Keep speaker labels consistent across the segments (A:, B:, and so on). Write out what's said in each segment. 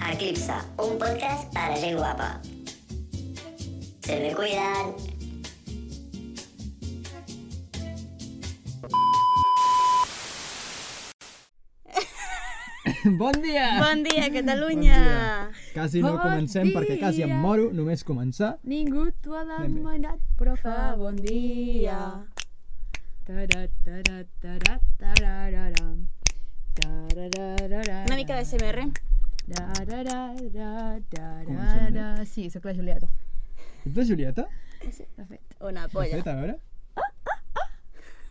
A: a Clipsa, un podcast para gente guapa. Se me cuidan.
B: Bon dia!
C: Bon dia, Catalunya!
B: Quasi no
D: Bon
B: comencem perquè quasi em
D: dia!
B: moro, només començar.
D: Ningú t'ho ha
B: Anem bé.
D: demanat, però fa bon dia. Tarat, tarat, tarat, tarararam. Tararararara.
C: Una mica de SMR.
D: Dararara, darara.
B: Comencem bé.
D: Sí, sóc la Julieta.
B: Ets la Julieta?
D: De fet,
C: Una
B: De
C: polla.
B: fet, a veure.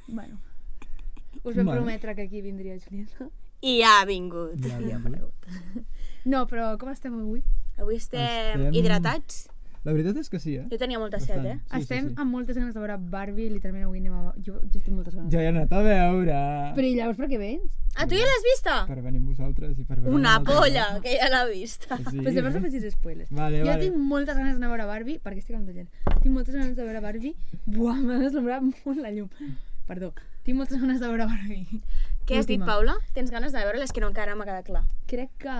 D: bueno. Us vam
B: Vale.
D: prometre que aquí vindria Julieta.
C: I ha vingut.
B: Ja, ja,
D: No, però com estem avui?
C: Avui estem,
B: Estem-
C: hidratats.
B: la veritat és que sí, eh?
C: Jo tenia molta set, eh?
B: Sí,
D: estem
B: sí, sí.
D: amb moltes ganes de veure Barbie, literalment avui anem a... Jo, jo tinc moltes ganes.
B: Ja he anat a veure.
D: Però i llavors per què vens?
C: Ah, tu ja l'has vista?
B: Per venir amb vosaltres i per veure...
C: Una
B: una altra
C: polla, que ja l'ha vista.
B: cosa. Sí,
D: Pues llavors no
B: eh?
D: facis spoilers.
B: Vale,
D: jo
B: vale.
D: tinc moltes ganes d'anar a veure Barbie, este perquè estic amb la gent. Tinc moltes ganes de veure Barbie. Buah, m'ha deslumbrat molt la llum. Perdó. Tinc moltes ganes de veure Barbie.
C: Què has dit,
D: Última.
C: Paula? Tens ganes de veure les que no encara m'ha quedat clar.
D: Crec que...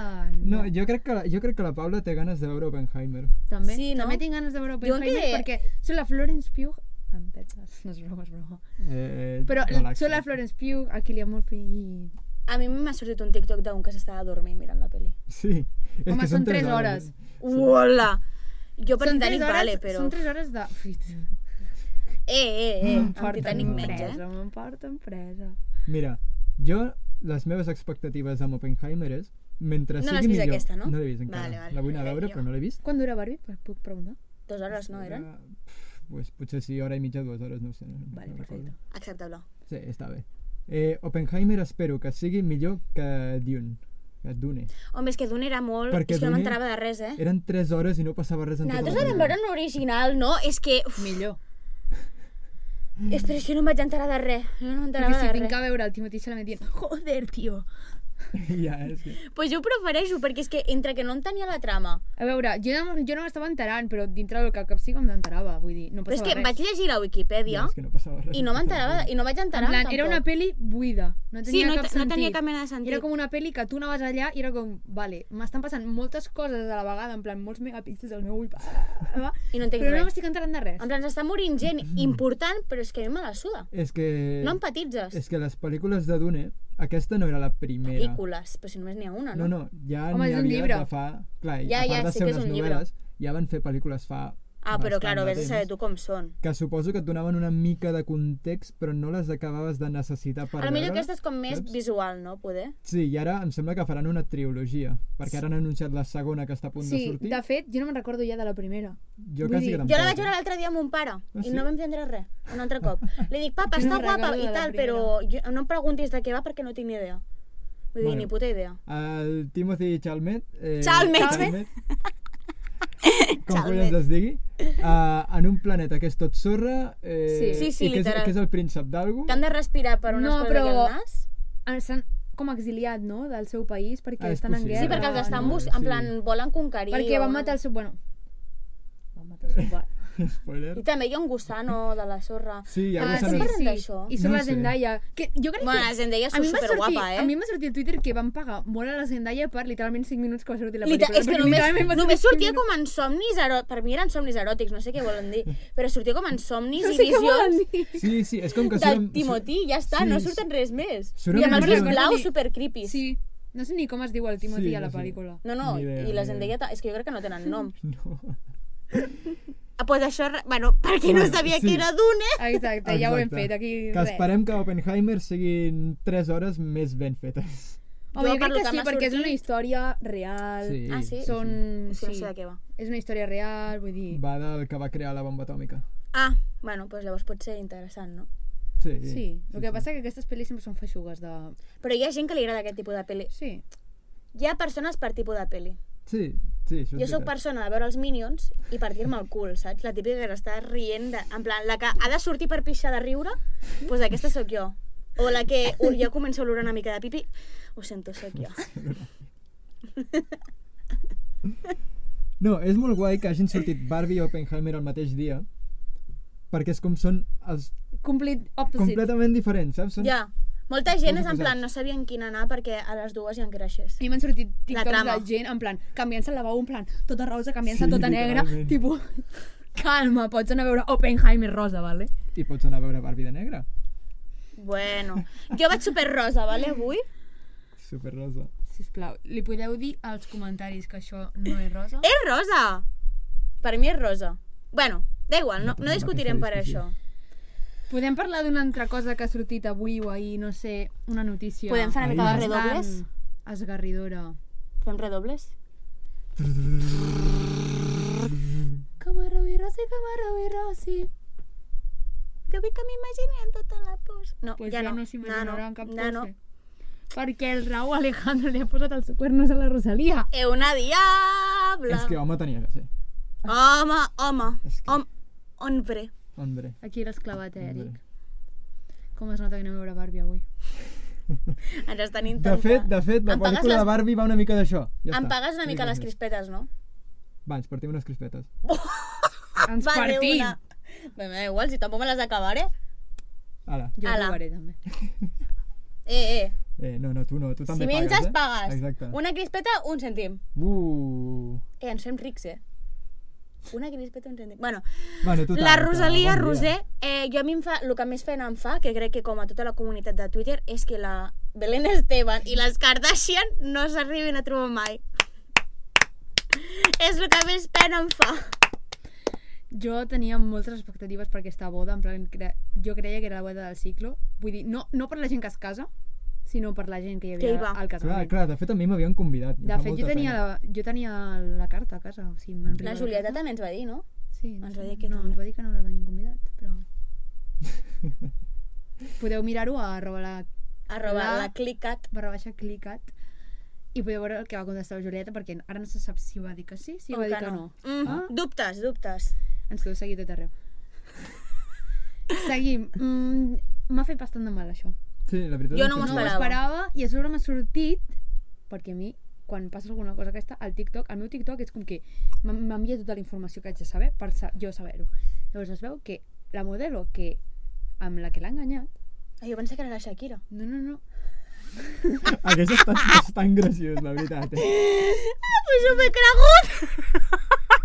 B: No, jo crec, que la, jo crec que la Paula té ganes de veure Oppenheimer.
D: També,
C: Sí, no?
D: també tinc ganes de veure
C: Diuen
D: Oppenheimer
C: que-
D: perquè són la Florence Pugh en tetes. No és broma, és broma.
B: Eh,
D: Però
B: relaxa.
D: són la Florence Pugh, el Cillian Murphy i...
C: A mi m'ha sortit un TikTok d'un que s'estava dormint mirant la peli.
B: Sí. És
D: Home,
B: que
D: són 3 hores.
C: Uola! Jo per
D: Són tres
C: Titanic,
D: hores-
C: vale, però...
D: Són Mm, 3 hores de... Ui,
C: Eh, eh, eh,
D: em
C: amb
D: porten
C: Titanic menys,
D: presa,
C: eh?
D: M'emporten presa.
B: Mira, jo les meves expectatives amb Oppenheimer és mentre
C: No l'has
B: sigui
C: vist
B: millor.
C: aquesta, no?
B: No l'he vist encara.
C: Vale, vale.
B: La vull anar a veure,
C: Jo.
B: però no l'he vist.
D: Quan dura Barbie? Pues, Puc preguntar?
C: Dues hores no eren?
B: Eh, pf, Pues, potser sí, hora i mitja, dues hores, no ho sé. No,
D: Vale,
B: no
D: perfecte.
B: recordo.
C: Acceptable.
B: Sí, està bé. Eh, Oppenheimer espero que sigui millor que Dune. Que Dune.
C: Home, és que Dune era molt...
B: Perquè
C: és que no
B: Dune-
C: m'entrava de res, eh?
B: Eren 3 hores i no passava res en
C: Nosaltres
B: tota la
C: vam
B: pel·lícula.
C: veure en original, no? És que... Uf,
D: Millor.
C: és, però és que no em vaig enterar de res. Jo no m'enterava
D: Perquè si
C: de
D: tinc
C: res.
D: a veure el Timothy Chalamet dient Joder, tio.
B: ja, és que...
C: Doncs pues jo ho prefereixo, perquè és que entre que no entenia la trama...
D: A veure, jo no, jo no m'estava enterant, però dintre del que cap sí que em enterava, vull dir, no
C: Però és
D: passava
C: que
D: res.
C: vaig llegir la Wikipeèdia
B: Ja, és que no passava res.
C: i no m'enterava, i no vaig
D: En
C: enterar
D: plan, era una peli buida, no
C: Sí,
D: tenia
C: no,
D: cap
C: te- no
D: sentit.
C: tenia cap mena de sentit.
D: Era com una peli que tu anaves allà i era com, vale, m'estan passant moltes coses a la vegada, en plan, molts megapíxels al meu ull, va,
C: I no entenc
D: però no
C: res.
D: m'estic enterant de res.
C: En plan, s'està morint gent
B: Mm.
C: important, però és que a mi me la suda.
B: És que...
C: No empatitzes.
B: És que les pel·lícules de Dune, aquesta no era la primera.
C: Pel·lícules, però si només n'hi ha una,
B: No,
C: no?
B: no, ja
D: Home,
B: n'hi
D: és un
B: havia
D: llibre.
B: de fa... Clar, i
C: Ja,
B: a part
C: ja,
B: de
C: sé
B: ser
C: que és
B: unes
C: un llibre.
B: novel·les, ja van fer pel·lícules fa
C: Ah, però,
B: bastant
C: claro,
B: de
C: vés a saber
B: temps,
C: tu com són.
B: Que suposo que et donaven una mica de context, però no les acabaves de necessitar per
C: A lo millor
B: veure-la.
C: aquesta és com més
B: saps?
C: visual, no? Poder.
B: Sí, i ara em sembla que faran una trilogia, perquè ara han anunciat la segona que està a punt
D: Sí,
B: de sortir.
D: de fet, jo no me'n recordo ja de la primera.
B: Jo
D: vull
B: quasi
D: dir,
B: que tampoc. eh.
C: Jo la vaig veure l'altre dia amb mon pare i
B: Ah, sí?
C: no vam entendre res, un altre cop. Li dic, papa,
D: Jo no
C: està
D: em
C: guapa
D: recordo
C: i
D: de la
C: tal,
D: primera.
C: però jo, no em preguntis de què va perquè no tinc ni idea. Vull dir,
B: Bueno.
C: ni puta idea.
B: El Timothy Chalmet... Eh,
C: Chalmet.
B: Com
C: Chalmet.
B: collons es digui, uh, en un planeta que és tot sorra eh,
C: Sí. Sí, sí,
B: i que és,
C: literal.
B: que és el príncep d'algú.
C: Que han de respirar per una
D: No,
C: no,
D: però-
C: però... al nas?
D: Ah, S'han com exiliat, no?, del seu país, perquè
B: Ah, és
D: estan en
B: possible.
D: guerra.
C: Sí, perquè els estan
B: no,
C: bus...
B: sí.
C: en plan, volen conquerir.
D: Perquè
C: o
D: van
C: una-
D: matar el seu... Bueno, van matar el seu pare.
B: Spoiler.
C: I també hi ha un gusano de la sorra.
B: Sí, ja
C: Ah,
B: ah,
C: estem
B: sí,
C: parlant d'això?
D: I són
B: No
D: la
B: sé.
D: Zendaya. Que jo crec
C: Bueno,
D: que...
C: la Zendaya és
D: a mi em va
C: superguapa,
D: sortir- A
C: eh?
D: mi em va sortir a Twitter que van pagar molt a la Zendaya per literalment 5 minuts que va sortir la
C: Liter
D: pel·lícula.
C: és que
D: perquè
C: només,
D: literalment va sortir
C: només
D: cinc
C: sortia
D: minuts.
C: com en somnis eròtics, per mi eren somnis eròtics, no sé què volen dir, però sortia com en somnis
D: No
C: i
D: sé què volen
C: visions
D: dir.
B: sí, sí, és com que...
C: del
B: surten-
C: Timotí, ja està,
B: sí,
C: no
B: sí.
C: surten res més.
B: Surten
C: I amb
B: unes
C: els ulls
B: visions-
C: blaus super creepy.
D: Sí, no sé ni com es diu el Timothy
B: Sí,
D: a
B: no
D: la
B: sé.
D: pel·lícula.
C: No, no,
B: Ni idea,
C: i
B: ni
C: la Zendaya,
B: idea.
C: ta- és que jo crec que no tenen nom.
B: No.
C: Ah, pues això, re- bueno, per qui no
B: Bueno,
C: sabia
B: sí.
C: que era Dune,
D: Exacte, ja ho hem
B: Exacte.
D: fet, aquí
B: Que
D: res.
B: esperem que Oppenheimer siguin 3 hores més ben fetes.
D: Home,
C: Jo,
D: jo,
C: per
D: crec
C: lo
D: que
C: que
D: sí,
C: m'ha
D: perquè és una
C: sortit-
D: història real.
C: Ah, sí?
D: Són...
C: és que no
D: Sí,
C: sé de què va.
D: és una història real, vull dir...
B: Va del que va crear la bomba atòmica.
C: Ah, bueno, doncs llavors pot ser interessant, no?
B: Sí,
D: Sí, el que passa que aquestes pel·lis sempre són feixugues de...
C: Però hi ha gent que li agrada aquest tipus de pel·li.
D: Sí.
C: Hi ha persones per tipus de pel·li.
B: Sí, sí, això és
C: Jo sóc
B: veritat.
C: persona de veure els Minions i partir-me el cul, saps? La típica que està rient, de, en plan, la que ha de sortir per pixar de riure, doncs aquesta sóc jo. O la que ur, jo començo a olorar una mica de pipi, ho sento, sóc jo.
B: No, és molt guai que hagin sortit Barbie i Oppenheimer el mateix dia, perquè és com són els
D: Complete opposite.
B: completament diferents, saps? Són...
C: Ja, Molta gent
B: Molt
C: és en
B: oposats.
C: plan, no sabien quina anar perquè a les dues hi han creixes.
D: A mi m'han sortit TikToks
C: trama.
D: de gent, en plan, canviant-se el lavabo, en plan, tota rosa, canviant-se
B: Sí,
D: tota negra,
B: literalment.
D: tipus, calma, pots anar a veure Oppenheimer rosa, vale?
B: I pots anar a veure Barbie de negre.
C: Bueno, jo vaig super rosa, vale, avui?
B: Super rosa.
D: Sisplau, li podeu dir als comentaris que això no és rosa?
C: És rosa! Per mi és rosa. Bueno, da igual, no,
B: No
C: no
B: tenim
C: discutirem per
B: aquesta
C: això.
B: discussió.
D: Podem parlar d'una altra cosa que ha sortit avui o ahir, no sé, una notícia.
C: Podem fer una
B: Ahí.
C: mica de
B: Bastant.
C: redobles?
D: Esgarridora.
C: Fem redobles?
D: Camarro i Rossi, Camarro i Rossi.
C: Jo vull que m'imaginen tota la pos... No,
D: Pues
C: ja
D: ja
C: no.
D: no s'imaginarà en cap
C: ja no.
D: pose. Perquè el Raúl Alejandro li ha posat els cuernos a la Rosalia.
C: E una diabla!
B: És que home tenia que ser.
C: Home, home,
B: És que-
C: hom, hombre.
B: Hombre.
D: Aquí l'has clavat, eh,
B: hombre.
D: Eric. Com es nota que no veure Barbie avui.
C: Ens estan
B: De
C: intentant...
B: fet, de fet, la
C: Em pagues
B: pel·lícula
C: les-
B: de Barbie va una mica d'això. Ja
C: Em
B: està.
C: pagues una mica les
B: Gràcies.
C: crispetes, no?
B: Va, ens portem unes crispetes.
D: Ens
C: Vale,
D: partim!
C: una. Bé, me da igual, si tampoc me les acabaré.
B: Ara.
D: Jo
C: Ala.
D: Ala. provaré també.
C: Eh, eh,
B: Eh, no, no, tu no, tu també
C: si
B: pagues,
C: menges,
B: eh?
C: pagues.
B: Exacte.
C: Una crispeta, un cèntim.
B: Uh.
C: Eh, ens fem rics, eh? Una crispeta, un cèntim. Bueno,
B: Bueno, tu
C: la
B: tanca,
C: Rosalia
B: bon dia.
C: Roser, eh, jo a mi em fa, el que més feina em fa, que crec que com a tota la comunitat de Twitter, és que la Belén Esteban i les Kardashian no s'arriben a trobar mai. És el que més pena em fa.
D: Jo tenia moltes expectatives per aquesta boda, en plan, cre... jo creia que era la boda del ciclo. Vull dir, no, no per la gent que es casa, sinó per la gent que hi
C: Que hi
D: havia
C: va.
D: al
B: Clar,
D: casament.
B: clar, de fet a mi m'havien convidat. i em
D: De
B: fa
D: fet, jo
B: molta
D: tenia,
B: pena.
D: la, jo tenia la carta a casa, o sigui, me'n
C: La
D: arriba
C: Julieta
D: carta.
C: també ens va dir, no?
D: Sí,
C: ens va dir que
D: no,
C: també.
D: ens va dir que no l'havien convidat, però... Podeu mirar-ho a arroba la
C: Arroba
D: La-
C: la clicat.
D: barra baixa clicat i podeu veure el que va contestar la Julieta perquè ara no se sap si va dir que sí, si
C: o
D: va dir que no.
C: Mm,
D: Ah.
C: Dubtes, dubtes.
D: Ens podeu seguir a tot arreu. Seguim. Mm, M'ha fet bastant de mal, això.
B: Sí, la veritat
C: Jo
B: és
C: no
B: que
C: m'ho
B: sí.
D: No ho
C: esperava.
D: esperava i a sobre m'ha sortit perquè a mi, quan passa alguna cosa aquesta, al TikTok, el meu TikTok és com que m'en- m'envia tota la informació que haig de saber per sa jo saber-ho. Llavors es veu que la modelo que amb la que l'ha enganyat
C: Ah, jo pensava que era la Shakira.
D: no, no, no.
B: Aquest és tan, és tan graciós, la veritat. Eh?
C: Pues jo m'he cregut!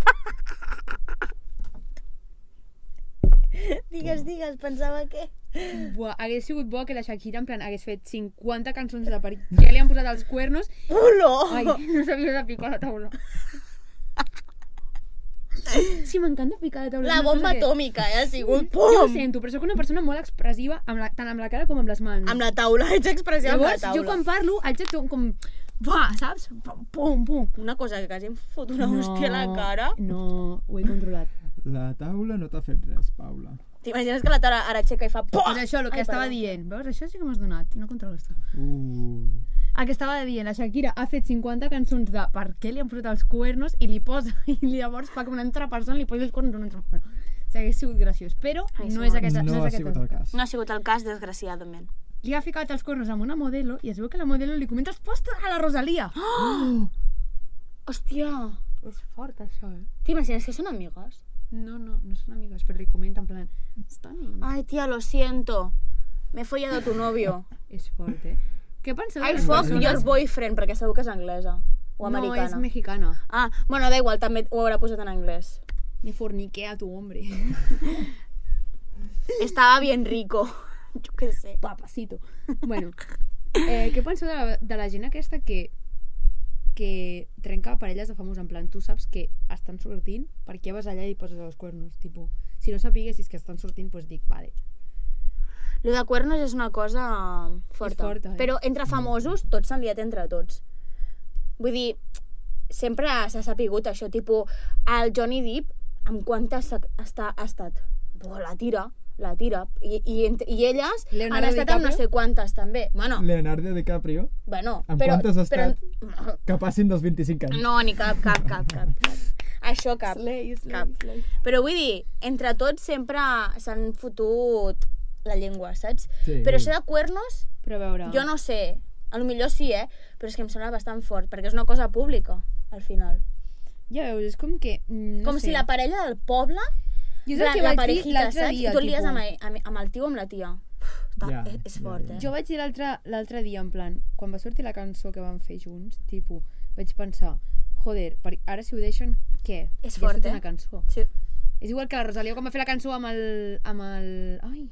C: digues, digues, pensava que...
D: Buah, hagués sigut bo que la Shakira en plan hagués fet 50 cançons de per què li han posat els cuernos.
C: Olor!
D: Ai, no sabia de picar la taula. Sí, m'encanta picar la taula. és una
C: La
D: cosa
C: bomba
D: que-
C: atòmica, eh, ha sigut...
D: Jo ho
C: Pum!
D: sento, però sóc una persona molt expressiva, amb la, tant amb la cara com amb les mans.
C: Amb la taula, ets expressiva amb la
D: Llavors,
C: taula.
D: jo quan parlo, haig de to- com... Va, saps? Pum, pum, pum.
C: Una cosa que quasi em fot una hòstia a la cara.
D: No, ho he controlat.
B: La taula no t'ha fet res, Paula.
C: T'imagines que la taula ara aixeca i fa... Pum!
D: Pues això, el que
C: Ah! Ai,
D: estava
C: perdó.
D: dient. Veus, això sí que m'has donat. No controlo això.
B: Uh.
D: El que estava dient, la Shakira ha fet 50 cançons de per què li han posat els cuernos i li posa, i llavors fa que una altra persona li posi els cuernos a una altra persona. O sigui, hagués sigut graciós, però
C: Ai, sí,
D: no és
C: no.
D: aquesta,
B: no
D: no
B: ha
D: és aquest
B: sigut el cas.
C: No ha sigut el cas, desgraciadament.
D: Li ha ficat els cuernos amb una modelo i es veu que la modelo li comenta els posts a la Rosalia. Oh!
C: Hòstia!
D: És fort, això, eh?
C: T'imagines que són amigues?
D: No, no, no són amigues, però li comenta en plan... Stunning.
C: Ay, tía, lo siento. Me he follado a tu novio.
D: És fort, eh? Què penseu? de
C: I
D: les
C: fuck
D: persones-
C: your boyfriend, perquè segur que és anglesa. O
D: No, és
C: americana.
D: mexicana.
C: Ah, bueno, da igual, també ho haurà posat en anglès.
D: Ni fornique a tu hombre.
C: Estava bien rico. Jo què sé.
D: Papacito. Bueno, eh, què penseu de la, de la gent aquesta que que trenca parelles de famós, en plan, tu saps que estan sortint, per què vas allà i poses els cuernos? Tipo, si no sapiguessis que estan sortint, doncs dic, vale.
C: Lo de cuernos és una cosa forta.
D: És forta, eh?
C: Però entre famosos, tots s'han liat entre tots. Vull dir, sempre s'ha sapigut això, tipus, el Johnny Depp, amb quantes ha, està, ha estat? Buah, la tira, la tira. I, i, ent- i elles
D: Leonardo
C: han estat amb no
D: DiCaprio?
C: sé quantes, també. Bueno,
B: Leonardo DiCaprio,
C: bueno,
B: Amb
C: però...
B: quantes ha
C: però-
B: que passin dels 25 anys.
C: No, ni cap, cap, cap, cap. cap. Això cap. Cap. Però vull dir, entre tots sempre s'han fotut la llengua, saps?
B: Sí.
C: Però això de cuernos,
D: Però a veure...
C: jo no sé. A lo millor sí, eh? Però és que em sembla bastant fort, perquè és una cosa pública, al final.
D: Ja veus, és com que... mm, No
C: Com
D: sé.
C: si la parella del poble,
D: Jo és
C: la,
D: el que
C: la
D: vaig dir
C: parejita,
D: l'altre
C: saps?
D: dia,
C: I tu lies
D: tipo,
C: amb, amb, amb el tio o amb la tia. Va,
B: Ja,
C: és, és
B: ja,
C: fort,
B: ja.
C: eh?
D: Jo vaig dir l'altre l'altre dia, en plan, quan va sortir la cançó que van fer junts, tipus, vaig pensar, joder, per, ara si ho deixen, què?
C: És
D: Ja
C: fort,
D: surt
C: eh?
D: una cançó.
C: Sí.
D: És igual que la Rosalia quan va fer la cançó amb el... Amb el... Ai,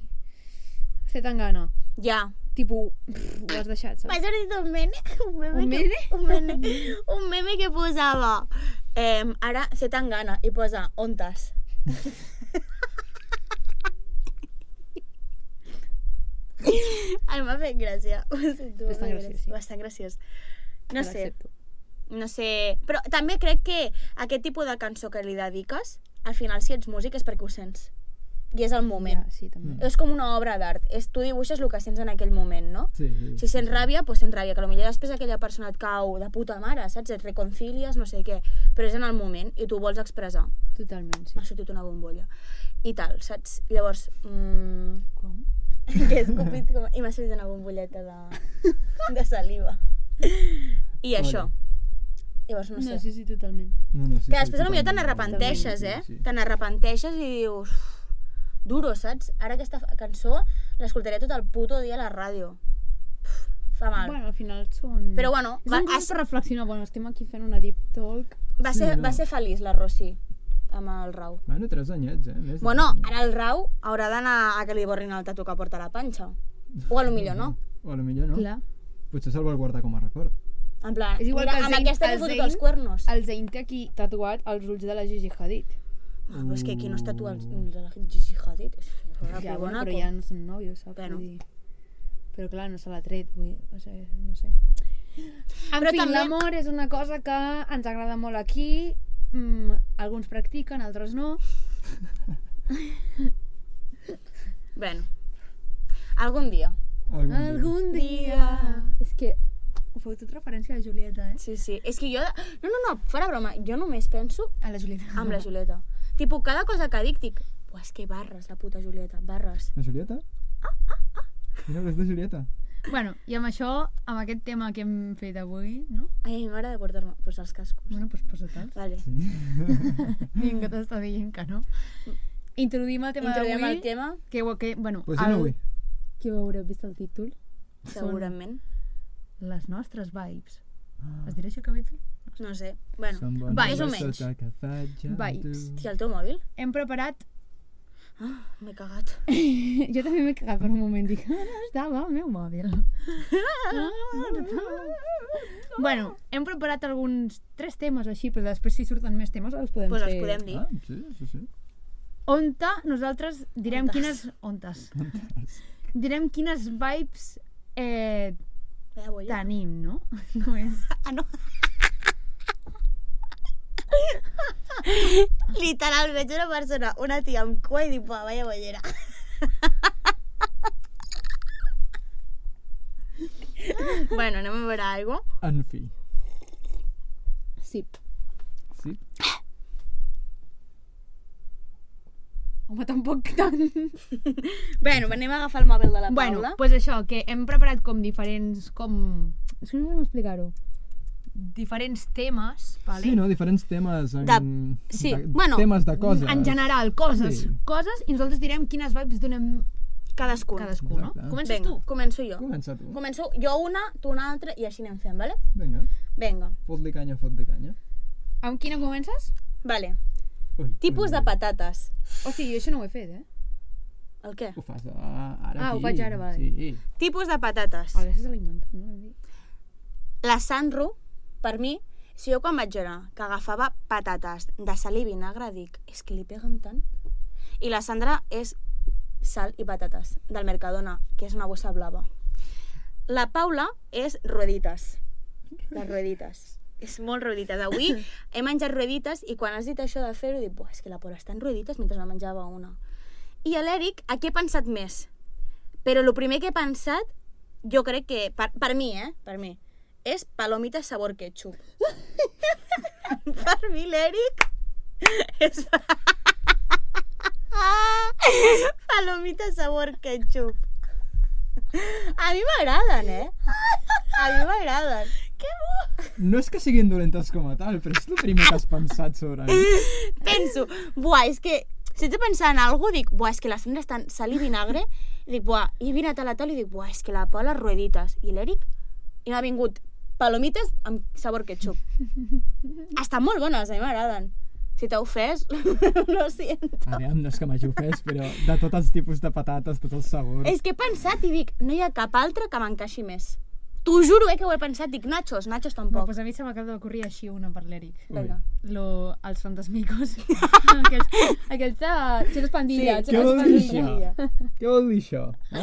D: fer tan gana.
C: Ja.
D: Tipo, pff, ho has deixat,
C: M'ha
D: saps?
C: sortit un meme, un meme,
D: Un
C: que,
D: meme?
C: un meme, un meme que posava eh, ara se tan gana i posa ontes. Em va fer gràcia. Ho sento,
D: Bastant
C: m'ha fet
D: graciós,
C: gràcia.
D: sí.
C: Bastant graciós. No
D: Te
C: sé,
D: l'accepto.
C: no sé... Però també crec que aquest tipus de cançó que li dediques, al final si ets músic és perquè ho sents. I és el moment.
D: Ja, sí, també.
B: Mm.
C: És com una obra d'art. És- Tu dibuixes el que sents en aquell moment, no?
B: Sí, sí.
C: Si sents ràbia, doncs sents ràbia, que potser després aquella persona et cau de puta mare, saps? Et reconcilies, no sé què, però és en el moment i tu ho vols expressar.
D: Totalment, sí.
C: M'ha sortit una bombolla. I tal, saps? Llavors, mmm,
D: Com?
C: que he escopit com... i m'ha sortit una bombolleta de, de saliva. I això. Llavors, no sé.
D: No, sí, sí, totalment.
B: No, no, sí,
C: Que
B: sí,
C: després potser te
B: totalment,
C: n'arrepenteixes, eh?
B: totalment, sí, sí.
C: Te n'arrepenteixes i dius... "Uf, Duro, saps? Ara aquesta fa- cançó l'escoltaré tot el puto dia a la ràdio. Uf, Fa mal.
D: Bueno, al final són...
C: Però bueno,
D: és
C: va-
D: un
C: has-
D: has... per reflexionar. Bueno, estem aquí fent una deep talk.
C: Va,
B: Sí,
C: ser,
B: no.
C: va ser feliç la Rossi amb el Rau.
B: Bueno, tres anyets, eh? Més de
C: Bueno,
B: tres anyets.
C: ara el Rau haurà d'anar a que li borrin el tatu que porta a la panxa. O a lo millor no.
B: O a lo millor no.
D: Clar.
B: Potser se'l vol guardar com a record.
C: En plan,
D: És igual
C: mira,
D: que el
C: amb
D: Zayn- el
C: aquesta li he fotut
D: Zayn-
C: els cuernos. El...
D: El Zayn té aquí tatuat els ulls de la Gigi Hadid.
C: Ah, Però és que qui no es tatua els ulls de la Gigi Hadid és una
D: Mm. Ja,
C: ja,
D: bueno, però ja
C: ja...
D: no són nòvios, saps?
C: Bueno.
D: Vull dir, Però clar, no se l'ha tret, vull... o sigui, no sé. En
C: Però
D: fi,
C: també-
D: l'amor és una cosa que ens agrada molt aquí, mm, alguns practiquen, altres no.
C: Bueno, algun dia.
B: Algun dia.
D: Algun dia... És que ho feu tot referència a la Julieta, eh?
C: Sí, sí. És que jo... No, no, no, fora broma. Jo només penso
D: A la Julieta.
C: amb la Julieta. Tipo, cada cosa que dic, dic... Buah, és que barres, la puta Julieta, barres.
B: La Julieta? Mira, però és de Julieta.
D: Bueno, i amb això, amb aquest tema que hem fet avui, no?
C: Ai, m'agrada portar-me pues, els cascos.
D: Bueno, doncs posa-te'ls.
C: Vale.
D: Dient que t'està dient que no. Introduïm el tema
C: Introduïm
D: d'avui.
C: el tema,
D: Que, ho- que, bueno,
B: Pues jo no vull.
D: que ho haureu vist el títol.
C: segurament.
D: les nostres vibes.
C: Ah.
D: Es dirà això que vaig dir?
C: No sé. Bueno,
B: Són bones
D: vibes.
B: de
C: Més o menys.
B: sota que faig amb tu.
D: Vibes.
C: Hòstia, el teu mòbil?
D: Hem preparat...
C: M'he cagat.
D: jo també m'he cagat per un moment. Dic, "Ah, ara estava el meu mòbil. bueno, hem preparat alguns tres temes així, però després si surten més temes els podem
C: Doncs
D: fer.
C: els podem dir.
B: Ah, sí, sí, sí.
D: Onta, nosaltres direm
C: Ontes.
D: quines... Ontes. Direm quines vibes eh,
C: Ja voy.
D: tenim, no? Com és?
C: Ah, no. Literal, veig una persona, una tia amb cua i dic, buah, vaya bollera. bueno, anem a veure alguna cosa.
B: En fi.
D: Sí.
B: Sí?
D: Home, tampoc tant.
C: Bueno, anem a agafar el mòbil de la Paula.
D: Bueno, doncs pues això, que hem preparat com diferents... Com... És que no sé com explicar-ho. Diferents temes, vale?
B: Sí, no? Diferents temes. En...
C: De- sí,
B: de-
C: bueno,
B: Temes de coses.
D: En general, coses,
B: Sí.
D: coses, i nosaltres direm quines vibes donem
C: cadascun.
D: cadascú, no?
B: Exacte.
D: Comences
C: Vinga,
D: tu?
C: començo jo.
B: Ah. Comença tu.
C: Començo jo una, tu una altra i així anem fent, vale?
B: Vinga,
C: Vinga,
B: fot-li canya, fot-li canya.
D: Amb quina comences?
C: vale.
B: Ui,
C: Tipus
B: ui,
C: de
B: ui.
C: patates.
D: O sigui, jo això no ho he fet, eh?
C: El què?
B: Ho fas ah, ara
D: Ah, ho
B: aquí.
D: faig ara, vale.
B: Sí.
C: Tipus de patates.
D: A vegades se l'ha inventat, no?
C: La Sandro, per mi, si jo quan vaig veure que agafava patates de sal i vinagre, dic, és que li peguen tant. I la Sandra és sal i patates, del Mercadona, que és una bossa blava. La Paula és ruedites. Les ruedites. És molt ruedites. Avui he menjat ruedites i quan has dit això de fer-ho, he dit, "Buah, és que la Paula està en ruedites mentre no menjava una. I a l'Eric, a què he pensat més? Però el primer que he pensat, jo crec que, per, per mi, eh? Per mi, és palomites sabor ketchup. per mi, l'Eric, és... palomites sabor ketchup. A mi m'agraden, eh? A mi m'agraden. Que bo!
B: No és que siguin dolentes com a tal, però és el primer que has pensat sobre mi.
C: Penso, buah, és que Si ets a pensar en alguna cosa, dic, buah, és que la Sandra està en sal i vinagre, i dic, buah, i he vinat a la tal i dic, buah, és que la Paula rueditas. I l'Eric, i m'ha vingut palomites amb sabor ketchup. Estan molt bones, a mi m'agraden. Si t'ha ofès, lo siento.
B: Aviam, no és que m'hagi ofès, però de tots els tipus de patates, tots els sabors...
C: És que he pensat i dic, no hi ha cap altre que m'encaixi més. T'ho juro, eh, que ho he pensat. Dic, nachos, nachos
D: Bueno,
C: tampoc.
D: pues a mi se m'acaba d'ocorrir així una per l'Eric.
B: Ui.
C: Vinga.
D: Lo, els fantasmicos. aquells, aquells de xetos pandilla. Sí,
C: Sí,
B: Què
D: xetos
B: vol dir
D: pandilla.
B: això? Què vol dir això? Eh?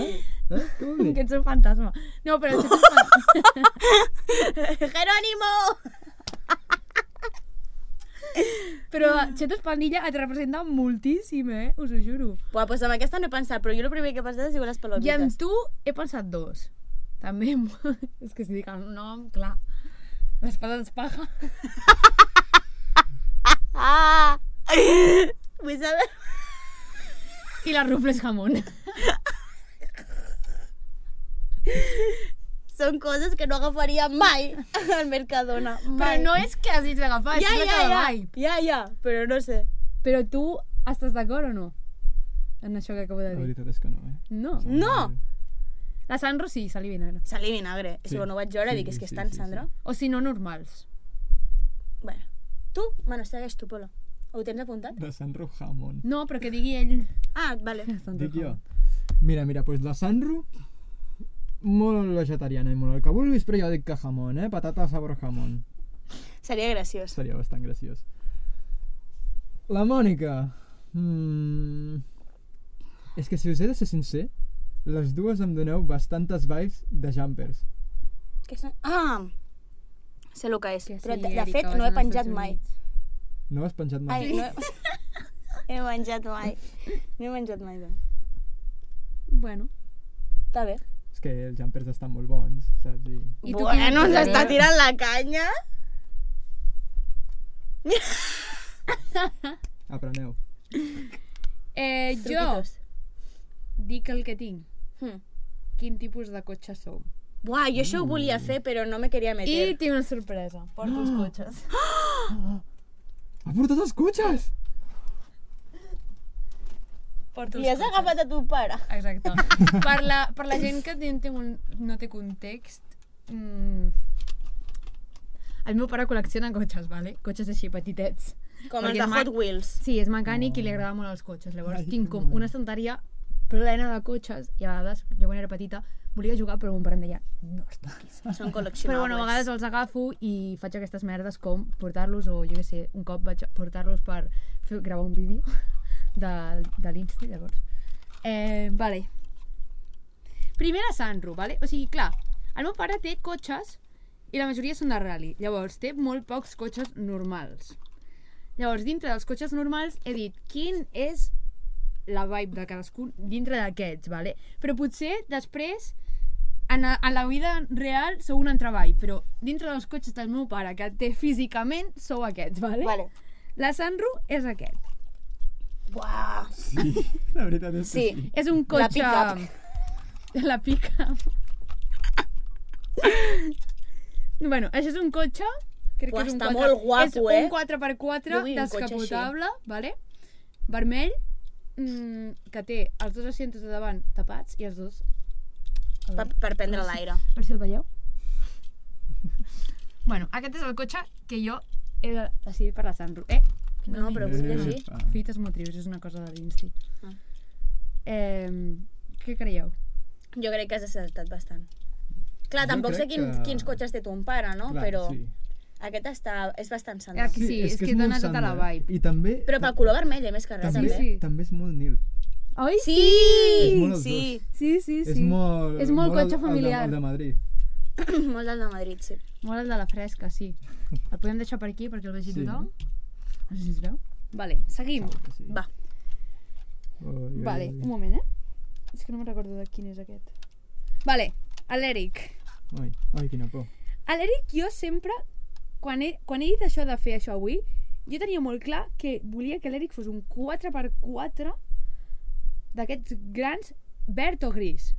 B: Eh? Què vol dir?
D: Que ets un fantasma. No, però xetos pandilla.
C: Jerónimo!
D: Però
C: Mm.
D: xetos pandilla et representa moltíssim, eh? Us ho juro.
C: Buah, doncs amb aquesta no he pensat, però jo el primer que he pensat és diu les palomites.
D: I amb tu he pensat dos. També. És que si dic el nom, clar. Les patates paja.
C: Ah! Vull saber...
D: I les rufles jamón.
C: Són coses que no agafaria mai al Mercadona.
D: Però
C: Mai.
D: no és que hagis d'agafar,
C: Ja,
D: és
C: ja,
D: que
C: ja.
D: mai.
C: Ja, ja, però no sé.
D: Però tu estàs d'acord o no? En això que acabo de
B: La
D: dir.
B: veritat és que no, eh?
D: No.
C: No!
D: La Sandro sí, sal i vinagre.
C: Sal i vinagre. És
B: Sí.
C: que quan ho vaig veure
B: Sí,
C: dic, és
B: sí,
C: que
B: sí,
C: estan,
B: sí, sí.
C: Sandra.
D: O si no, normals.
C: Bueno, tu? Bueno, segueix tu, Polo. Ho tens apuntat?
B: De Sanro Jamón.
D: No, però que digui ell.
C: Ah, vale.
B: Dic jo. Mira, mira, doncs la Sanro molt vegetariana i molt el que vulguis, però jo dic que jamón, eh? Patata sabor jamón.
C: Seria graciós.
B: Seria bastant graciós. La Mònica. Mm. És que si us he de ser sincer, les dues em doneu bastantes vibes de jumpers.
C: Què són? Ah! Sé el que és.
D: Que
C: però,
D: sí,
C: de, de
D: Erika,
C: fet,
D: vas
C: no
D: anar
C: he
D: als
C: penjat
D: Estats
C: mai.
D: Units.
B: No ho has penjat mai?
C: Ai, no he... he menjat mai. No he menjat mai, no.
D: Bueno.
C: Està bé.
B: És que els jumpers estan molt bons, saps? I...
D: I
C: I
D: tu
C: tu
D: quin-
C: bueno, ens
D: a
C: està
D: veure.
C: tirant la canya.
B: Apreneu.
D: Eh, jo
C: Truquitos.
D: dic el que tinc.
C: Hm.
D: Quin tipus de cotxe som.
C: Buah, jo això ho volia
B: Mm.
C: fer, però no me queria
D: I
C: meter.
D: tinc una sorpresa. Porto els cotxes.
B: Ha portat els cotxes!
D: Porto
C: I, I has agafat a tu pare.
D: Exacte. per, la, per la gent que té, té un, no té context... Mm. El meu pare col·lecciona cotxes, vale? Cotxes així petitets.
C: Com
D: Perquè
C: els de
D: mai-
C: Hot Wheels.
D: Sí, és mecànic i li agrada molt els cotxes. Llavors
B: Ai,
D: tinc
B: que
D: com
B: maco.
D: una estanteria plena de cotxes i a vegades, jo quan era petita, volia jugar però mon pare em deia no els toquis.
C: Són col·leccionables.
D: Però bueno, a vegades els agafo i faig aquestes merdes com portar-los o jo què sé, un cop vaig portar-los per fer, gravar un vídeo de, de l'Insti, llavors. Eh, vale. Primera Sanro, vale? O sigui, clar, el meu pare té cotxes i la majoria són de rally. Llavors, té molt pocs cotxes normals. Llavors, dintre dels cotxes normals he dit quin és la vibe de cadascun dintre d'aquests, vale? Però potser després en, en la vida real sou un entreball, però dintre dels cotxes del meu pare que té físicament sou aquests, vale?
C: Vale.
D: La Sanru és aquest.
C: Buah.
B: Sí, la veritat és
C: Sí.
B: que sí.
D: És un
C: La
D: cotxe... La pica. bueno, això és un cotxe... Crec
C: Buah,
D: que és un
C: està
D: quatre-
C: molt guapo,
D: és
C: eh?
D: un 4x4
C: Jo vull un cotxe així.
D: descapotable, vale? vermell, mm, que té els dos asientos de davant tapats i els dos... a
C: Per,
D: veure.
C: per prendre l'aire.
D: A veure si el veieu. bueno, aquest és el cotxe que jo he de- decidit per la Sanru. Eh,
C: No, però vull llegir.
B: Eh, Epa.
D: Fites motrius, és una cosa de l'Insti.
C: Ah.
D: Eh, què creieu?
C: Jo crec que has acertat bastant. Clar,
B: Jo
C: tampoc sé
B: crec
C: quin,
B: que-
C: quins cotxes té ton pare, no?
B: Clar,
C: però
B: sí.
C: aquest està, és bastant sandal.
D: Aquí- Sí, és que
B: molt
D: dona tota la
B: Sandra.
D: vibe.
B: I també...
C: Però pel color vermell, eh, més que
B: també,
C: res, també.
D: Sí, sí.
B: també és molt Nil.
D: Oi?
C: Sí!
B: És molt els
C: Sí!
D: Sí, sí, sí.
B: És molt...
D: És molt
B: el- el
D: cotxe
B: de-
D: familiar.
B: El de, Madrid.
C: molt del de Madrid, sí.
D: Molt el de la fresca, sí. El podem deixar per aquí perquè el vegi
B: Sí.
D: tothom. No sé si es veu. Vale, seguim.
B: Segur que sí.
C: Va.
B: Ui, ui,
D: Vale,
B: ui.
D: un moment, eh? És que no me'n recordo de quin és aquest. Vale, a l'Eric.
B: Ai, ai, quina por.
D: A l'Eric jo sempre, quan he, quan he dit això de fer això avui, jo tenia molt clar que volia que l'Eric fos un 4x4 d'aquests grans verd o gris.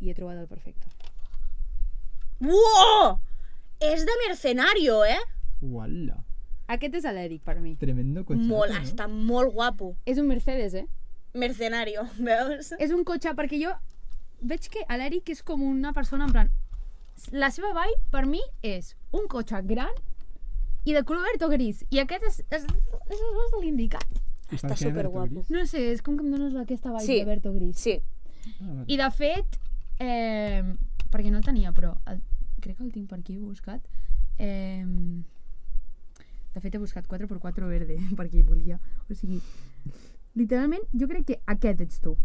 D: I he trobat el perfecte.
C: Uoh! És de mercenario, eh?
B: Uala.
D: Aquest és l'Eric per mi.
B: Tremendo cotxe.
C: Molt,
B: no?
C: està molt guapo.
D: És un Mercedes, eh?
C: Mercenario, veus?
D: És un cotxe, perquè jo veig que l'Eric és com una persona en plan... La seva vibe, per mi, és un cotxe gran i de color verd o gris. I aquest és, és, és, és l'indicat.
B: I
C: Està
B: per què verd o
C: superguapo.
B: gris?
D: No sé, és com que em dones aquesta vibe
C: Sí.
D: de verd o gris.
C: Sí.
B: Ah, vale.
D: I de fet, eh, perquè no el tenia, però el, crec que el tinc per aquí buscat. Eh, de fet, he buscat 4x4 verde, perquè volia. O sigui, literalment, jo crec que aquest ets tu.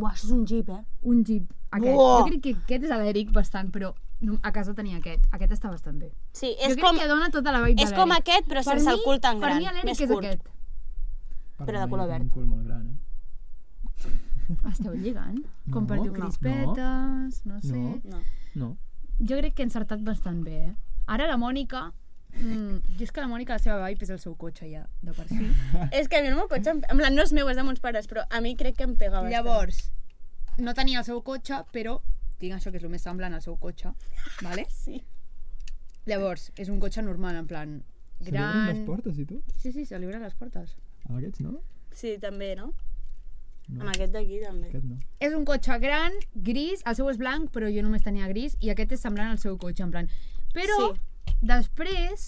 C: Uah, això és un jeep, eh?
D: Un jeep. Aquest.
C: Buah!
D: Jo crec que aquest és l'Eric bastant, però no, a casa tenia aquest. Aquest està bastant bé.
C: Sí,
D: És
C: és
D: jo crec
C: com,
D: que dona tota la vibe de
C: és com
D: l'Eric.
C: aquest, però
D: Per
C: sense el
D: mi-
C: cul tan gran.
D: Per mi l'Eric
C: més
D: és
C: curt.
D: aquest.
B: Per
C: però de
B: mi
C: color
B: té
C: verd.
B: Un cul molt gran, eh?
D: Esteu lligant? Com
B: No.
D: per diu
C: No.
D: crispetes, no, sé.
B: No.
C: No.
B: No.
D: Jo crec que he encertat bastant bé, eh? Ara la Mònica... Mm, jo és que la Mònica, la seva vibe és el seu cotxe ja, de per si.
C: És que a mi el meu cotxe, em- en plan, no és meu, és de mons pares, però a mi crec que em pega bastant.
D: Llavors, no tenia el seu cotxe, però tinc això que és el més semblant al seu cotxe, vale?
C: Sí.
D: Llavors, és un cotxe normal, en plan,
B: Se li obren
D: gran...
B: les portes i tot?
D: Sí, sí, se li obren les portes.
B: Amb aquests, no?
C: Sí, també, no?
B: No.
C: Amb aquest d'aquí, també.
B: Aquest no.
D: És un cotxe gran, gris, el seu és blanc, però jo només tenia gris, i aquest és semblant al seu cotxe, en plan... Però, sí. després,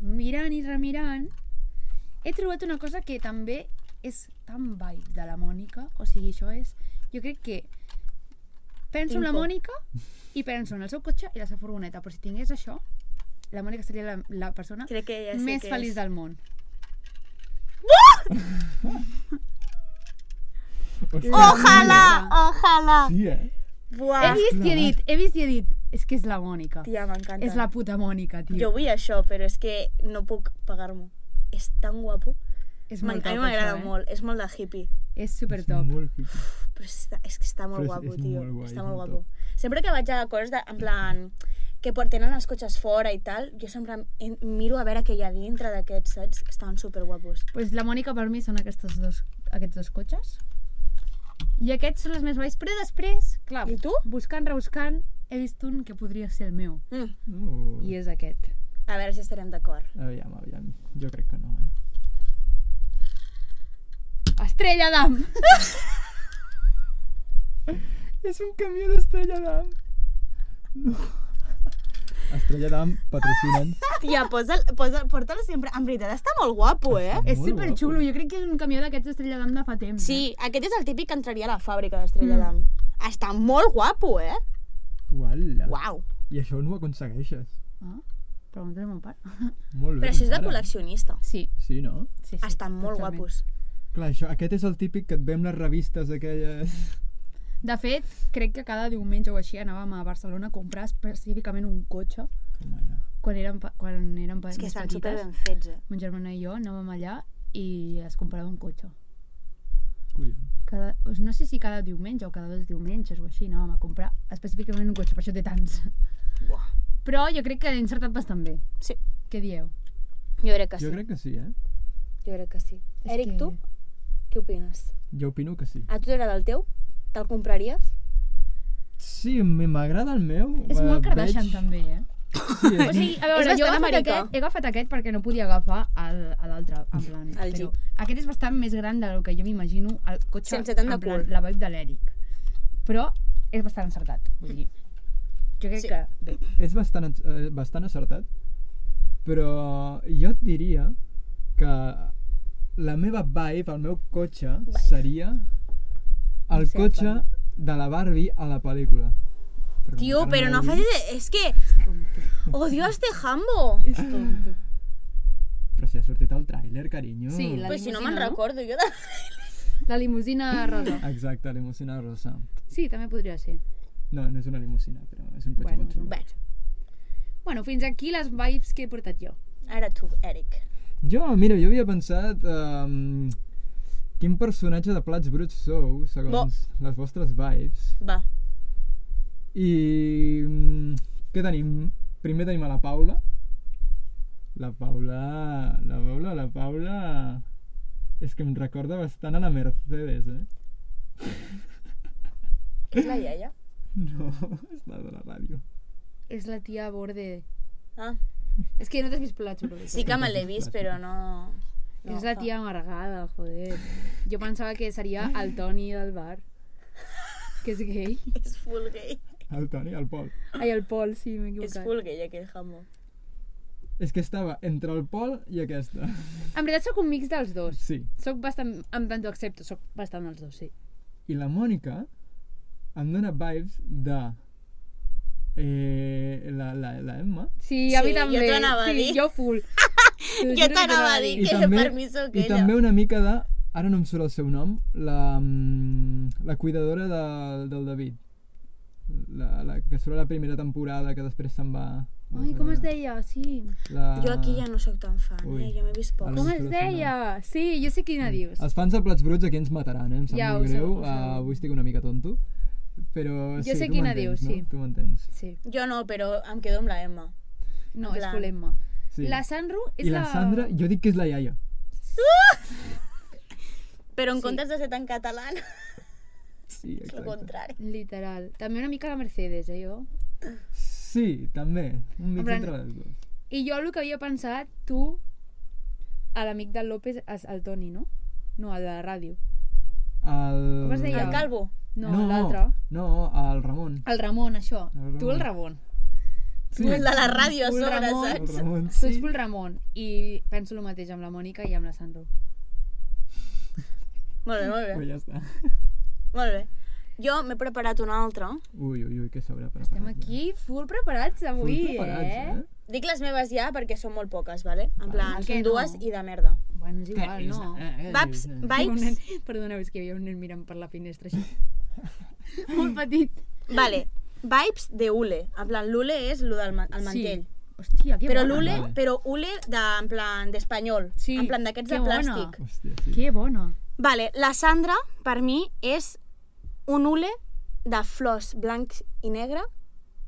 D: mirant i remirant, he trobat una cosa que també és tan vibe de la Mònica, o sigui, això és... Jo crec que penso en la
C: Tinc por.
D: Mònica i penso en el seu cotxe i la seva furgoneta, però si tingués això, la Mònica seria la, la persona
C: Crec que ja sé
D: més
C: què
D: feliç
C: és.
D: del món.
C: Ojalà, ojalà.
B: Sí, eh?
D: He
C: Buah.
D: vist i he dit, he vist i he dit, és que és la Mònica.
C: Tia, m'encanta.
D: És la puta Mònica, tio.
C: Jo vull això, però és que no puc pagar-m'ho. És tan guapo.
D: És
C: M'en-
D: molt
C: A
D: top,
C: mi m'agrada
D: això, eh?
C: molt, és molt de hippie.
D: És super
B: És
D: top.
B: Molt hippie.
C: Però està, és que està molt
B: Però és-
C: guapo,
B: és
C: tio.
B: molt guai,
C: està
B: és
C: molt
B: molt
C: guapo. Sempre que vaig a coses de, en plan que porten els cotxes fora i tal, jo sempre em- miro a veure què hi ha dintre d'aquests, saps? Estan superguapos.
D: Pues la Mònica per mi són aquests dos, aquests dos cotxes. I aquests són els més baix, però després, clar,
C: I tu?
D: buscant, rebuscant, he vist un que podria ser el meu.
C: Mm.
B: No.
D: I és aquest.
C: A veure si estarem d'acord.
B: Aviam, aviam. Jo crec que no, eh?
D: Estrella d'Am!
B: És un camió d'Estrella d'Am. No. Estrella d'Am patrocinen.
C: Tia, posa'l, posa'l, porta'l sempre. En veritat, està molt guapo, eh?
D: És
B: Molt
D: super xulo, jo crec que és un camió d'aquests d'Estrella d'Am de fa temps. eh?
C: Sí, aquest és el típic que entraria a la fàbrica d'Estrella d'Am. Està molt guapo, eh?
B: Uala.
C: Uau.
B: I això no ho aconsegueixes.
D: Eh? Ah, pregunta a mon pare.
B: Molt bé.
C: Però això és de
B: encara.
C: col·leccionista.
D: Sí,
B: Sí, no?
D: sí, sí.
C: Estan molt
D: totalment.
C: guapos.
B: Clar, això, aquest és el típic que et ve amb les revistes aquelles...
D: De fet, crec que cada diumenge o així anàvem a Barcelona a comprar específicament un cotxe
B: Home, ja.
D: quan érem, pe- quan érem pe-
C: És que
D: més
C: estan
D: petites.
C: superben fets, eh?
D: Mon germana i jo anàvem allà i es comprava un cotxe.
B: Collons.
D: Cada, doncs no sé si cada diumenge o cada dos diumenges o així anàvem a comprar específicament un cotxe, per això té tants.
C: Buah.
D: Però jo crec que he encertat bastant bé.
C: Sí.
D: Què dieu?
C: Jo crec que sí.
B: Jo crec que sí, eh?
C: Jo crec que sí.
D: És
C: Eric,
D: que-
C: tu? Què opines?
B: Jo opino que sí.
C: A tu t'agrada el teu? Te'l compraries?
B: Sí, m- m'agrada el meu.
D: És
B: eh,
D: molt Kardashian
B: veig-
D: també, eh?
B: Sí,
D: O
B: és...
D: sigui, a veure,
C: És
D: jo he
C: bastant
D: agafat,
C: americà.
D: aquest, he agafat aquest perquè no podia agafar el- a l'altre, en plan.
C: El
D: però
C: Jeep.
D: aquest és bastant més gran del que jo m'imagino el cotxe,
C: Sense tant de
D: en plan,
C: cul.
D: la vibe de l'Eric. Però és bastant encertat, vull dir. Jo crec
C: Sí.
D: que bé.
B: és bastant, eh, bastant acertat, però jo et diria que la meva vibe, el meu cotxe,
C: Vibe.
B: seria el
D: Sí,
B: cotxe de la Barbie a la pel·lícula. Però
C: Tio,
B: encara
C: però no
B: l'he
C: facis...
B: vist,
C: És que... Odio a este jambo.
D: És tonto.
B: Però si ha sortit el tràiler, carinyo.
D: Sí, la-
C: Però si no me'n
D: limusina, no?
C: recordo, jo de...
D: La limusina rosa.
B: Exacte, limusina rosa.
D: Sí, també podria ser.
B: No, no és una limusina, però és un cotxe
D: Bueno,
B: molt xulo.
D: bueno. bueno, fins aquí les vibes que he portat jo.
C: Ara tu, Eric.
B: Jo, mira, jo havia pensat... Um, quin personatge de Plats Bruts sou, segons
C: Bo.
B: les vostres vibes.
C: Va.
B: I mm, què tenim? Primer tenim a la Paula. La Paula... La Paula, la Paula... És que em recorda bastant a la Mercedes, eh?
C: És la iaia?
B: No, és la de la ràdio.
D: És la tia borde.
C: Ah,
E: És que no t'has vist plats, bro.
C: Sí que me l'he vist, però no... no
E: És la
C: fa.
E: tia amargada, joder. Jo pensava que seria el Toni del bar. Que és gay.
C: És full gay.
B: El Toni, el Pol.
E: Ai, el Pol, sí, m'he
C: És
E: equivocat.
C: full gay aquell jamó.
B: És que estava entre el Pol i aquesta.
E: En veritat sóc un mix dels dos.
B: Sí.
E: Soc bastant, en tant ho accepto, soc bastant dels dos, sí.
B: I la Mònica em dóna vibes de... Eh, la, la, la Emma.
E: Sí,
C: Sí,
E: a mi
C: jo
E: també.
C: t'anava a
E: sí,
C: dir.
E: jo full. T'ho juro que
C: t'anava a dir. I que per mi sóc
B: I
C: ella.
B: també una mica de... Ara no em surt el seu nom. La, mm, la cuidadora de, del David. La, la que surt a la primera temporada que després se'n va...
E: Ai, com es deia? Sí.
B: La...
C: Jo aquí ja no sóc tan fan,
B: Ui.
C: eh? Jo m'he vist poc.
B: Ara
E: Com
B: no
E: es
B: sé
E: deia? Sí, jo sé quina dius.
B: Els fans de Plats Bruts aquí ens mataran, eh? Em sap
E: Ja,
B: molt
E: ho sé,
B: greu.
E: ho sé.
B: Ah, avui estic una mica tonto. Però
E: Jo
B: sí,
E: sé
B: tu
E: quina dius,
B: m'entens, no?
E: sí.
B: Tu m'entens.
E: Sí.
C: Jo no, però em quedo amb la Emma.
E: No,
C: En
E: és
C: plan-
E: polema.
B: Sí.
E: La Sanru és
B: I la Sandra, jo dic que és la iaia.
C: Però en comptes de ser tan catalana,
B: Sí,
C: és el
B: exacte.
C: contrari.
E: Literal. També una mica la Mercedes, eh, jo?
B: Sí, també. Un mix
E: En plan-
B: entre les dues.
E: I jo el que havia pensat, tu, a l'amic del López, és el Toni, no? No, el de la ràdio.
B: El...
E: Com es deia?
C: El calvo.
E: No, no. l'altre.
B: No, el Ramon.
E: El Ramon, això.
B: El Ramon.
E: Tu el Ramon.
B: Sí.
C: El de la ¿eh? ràdio a
E: Full
C: sobre,
E: Ramon.
B: El
C: saps?
B: Ramon,
E: Tu ets
B: sí.
E: el Ramon. I penso el mateix amb la Mònica i amb la Sandro.
C: Molt bé, molt
B: Però
C: bé.
B: ja està.
C: Molt bé. Jo m'he preparat una altra.
B: Ui, ui, ui, que s'haurà preparat.
E: Estem aquí full preparats
B: Ja.
E: avui,
B: Ui, preparats, eh?
C: Dic les meves ja perquè són molt poques, vale? En plan,
E: el Ah, que
C: són
E: no.
C: dues i de merda.
E: Bueno, és igual, no?
B: eh,
C: Vaps,
E: Hi ha un
C: vibes?
E: nen- Perdoneu, és que hi havia un nen mirant per la finestra així. Molt petit.
C: Vale. Vibes de Ule. En plan, l'Ule és lo del ma el mantell.
E: Sí. Hòstia, que
C: Però
E: bona.
C: l'Ule,
B: Vale.
C: però Ule de, en plan d'espanyol.
E: Sí,
C: En plan d'aquests de
E: que bona.
C: plàstic.
B: Hòstia, sí.
E: Que bona.
C: Vale, la Sandra, per mi, és un ule de flors blanc i negre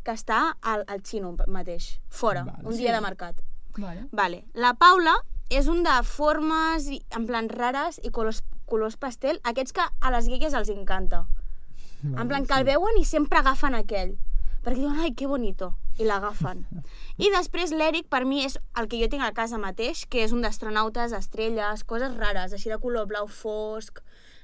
C: que està al, al xino mateix, fora,
B: Vale.
C: un dia de mercat.
D: Vale.
C: Vale. La Paula és un de formes i, en plan rares i colors, colors pastel, aquests que a les guilles els encanta.
B: Vale,
C: En plan, que
B: sí.
C: el veuen i sempre agafen aquell. Perquè diuen, ai, que bonito. I l'agafen. I després l'Eric, per mi, és el que jo tinc a casa mateix, que és un d'astronautes, estrelles, coses rares, així de color blau fosc...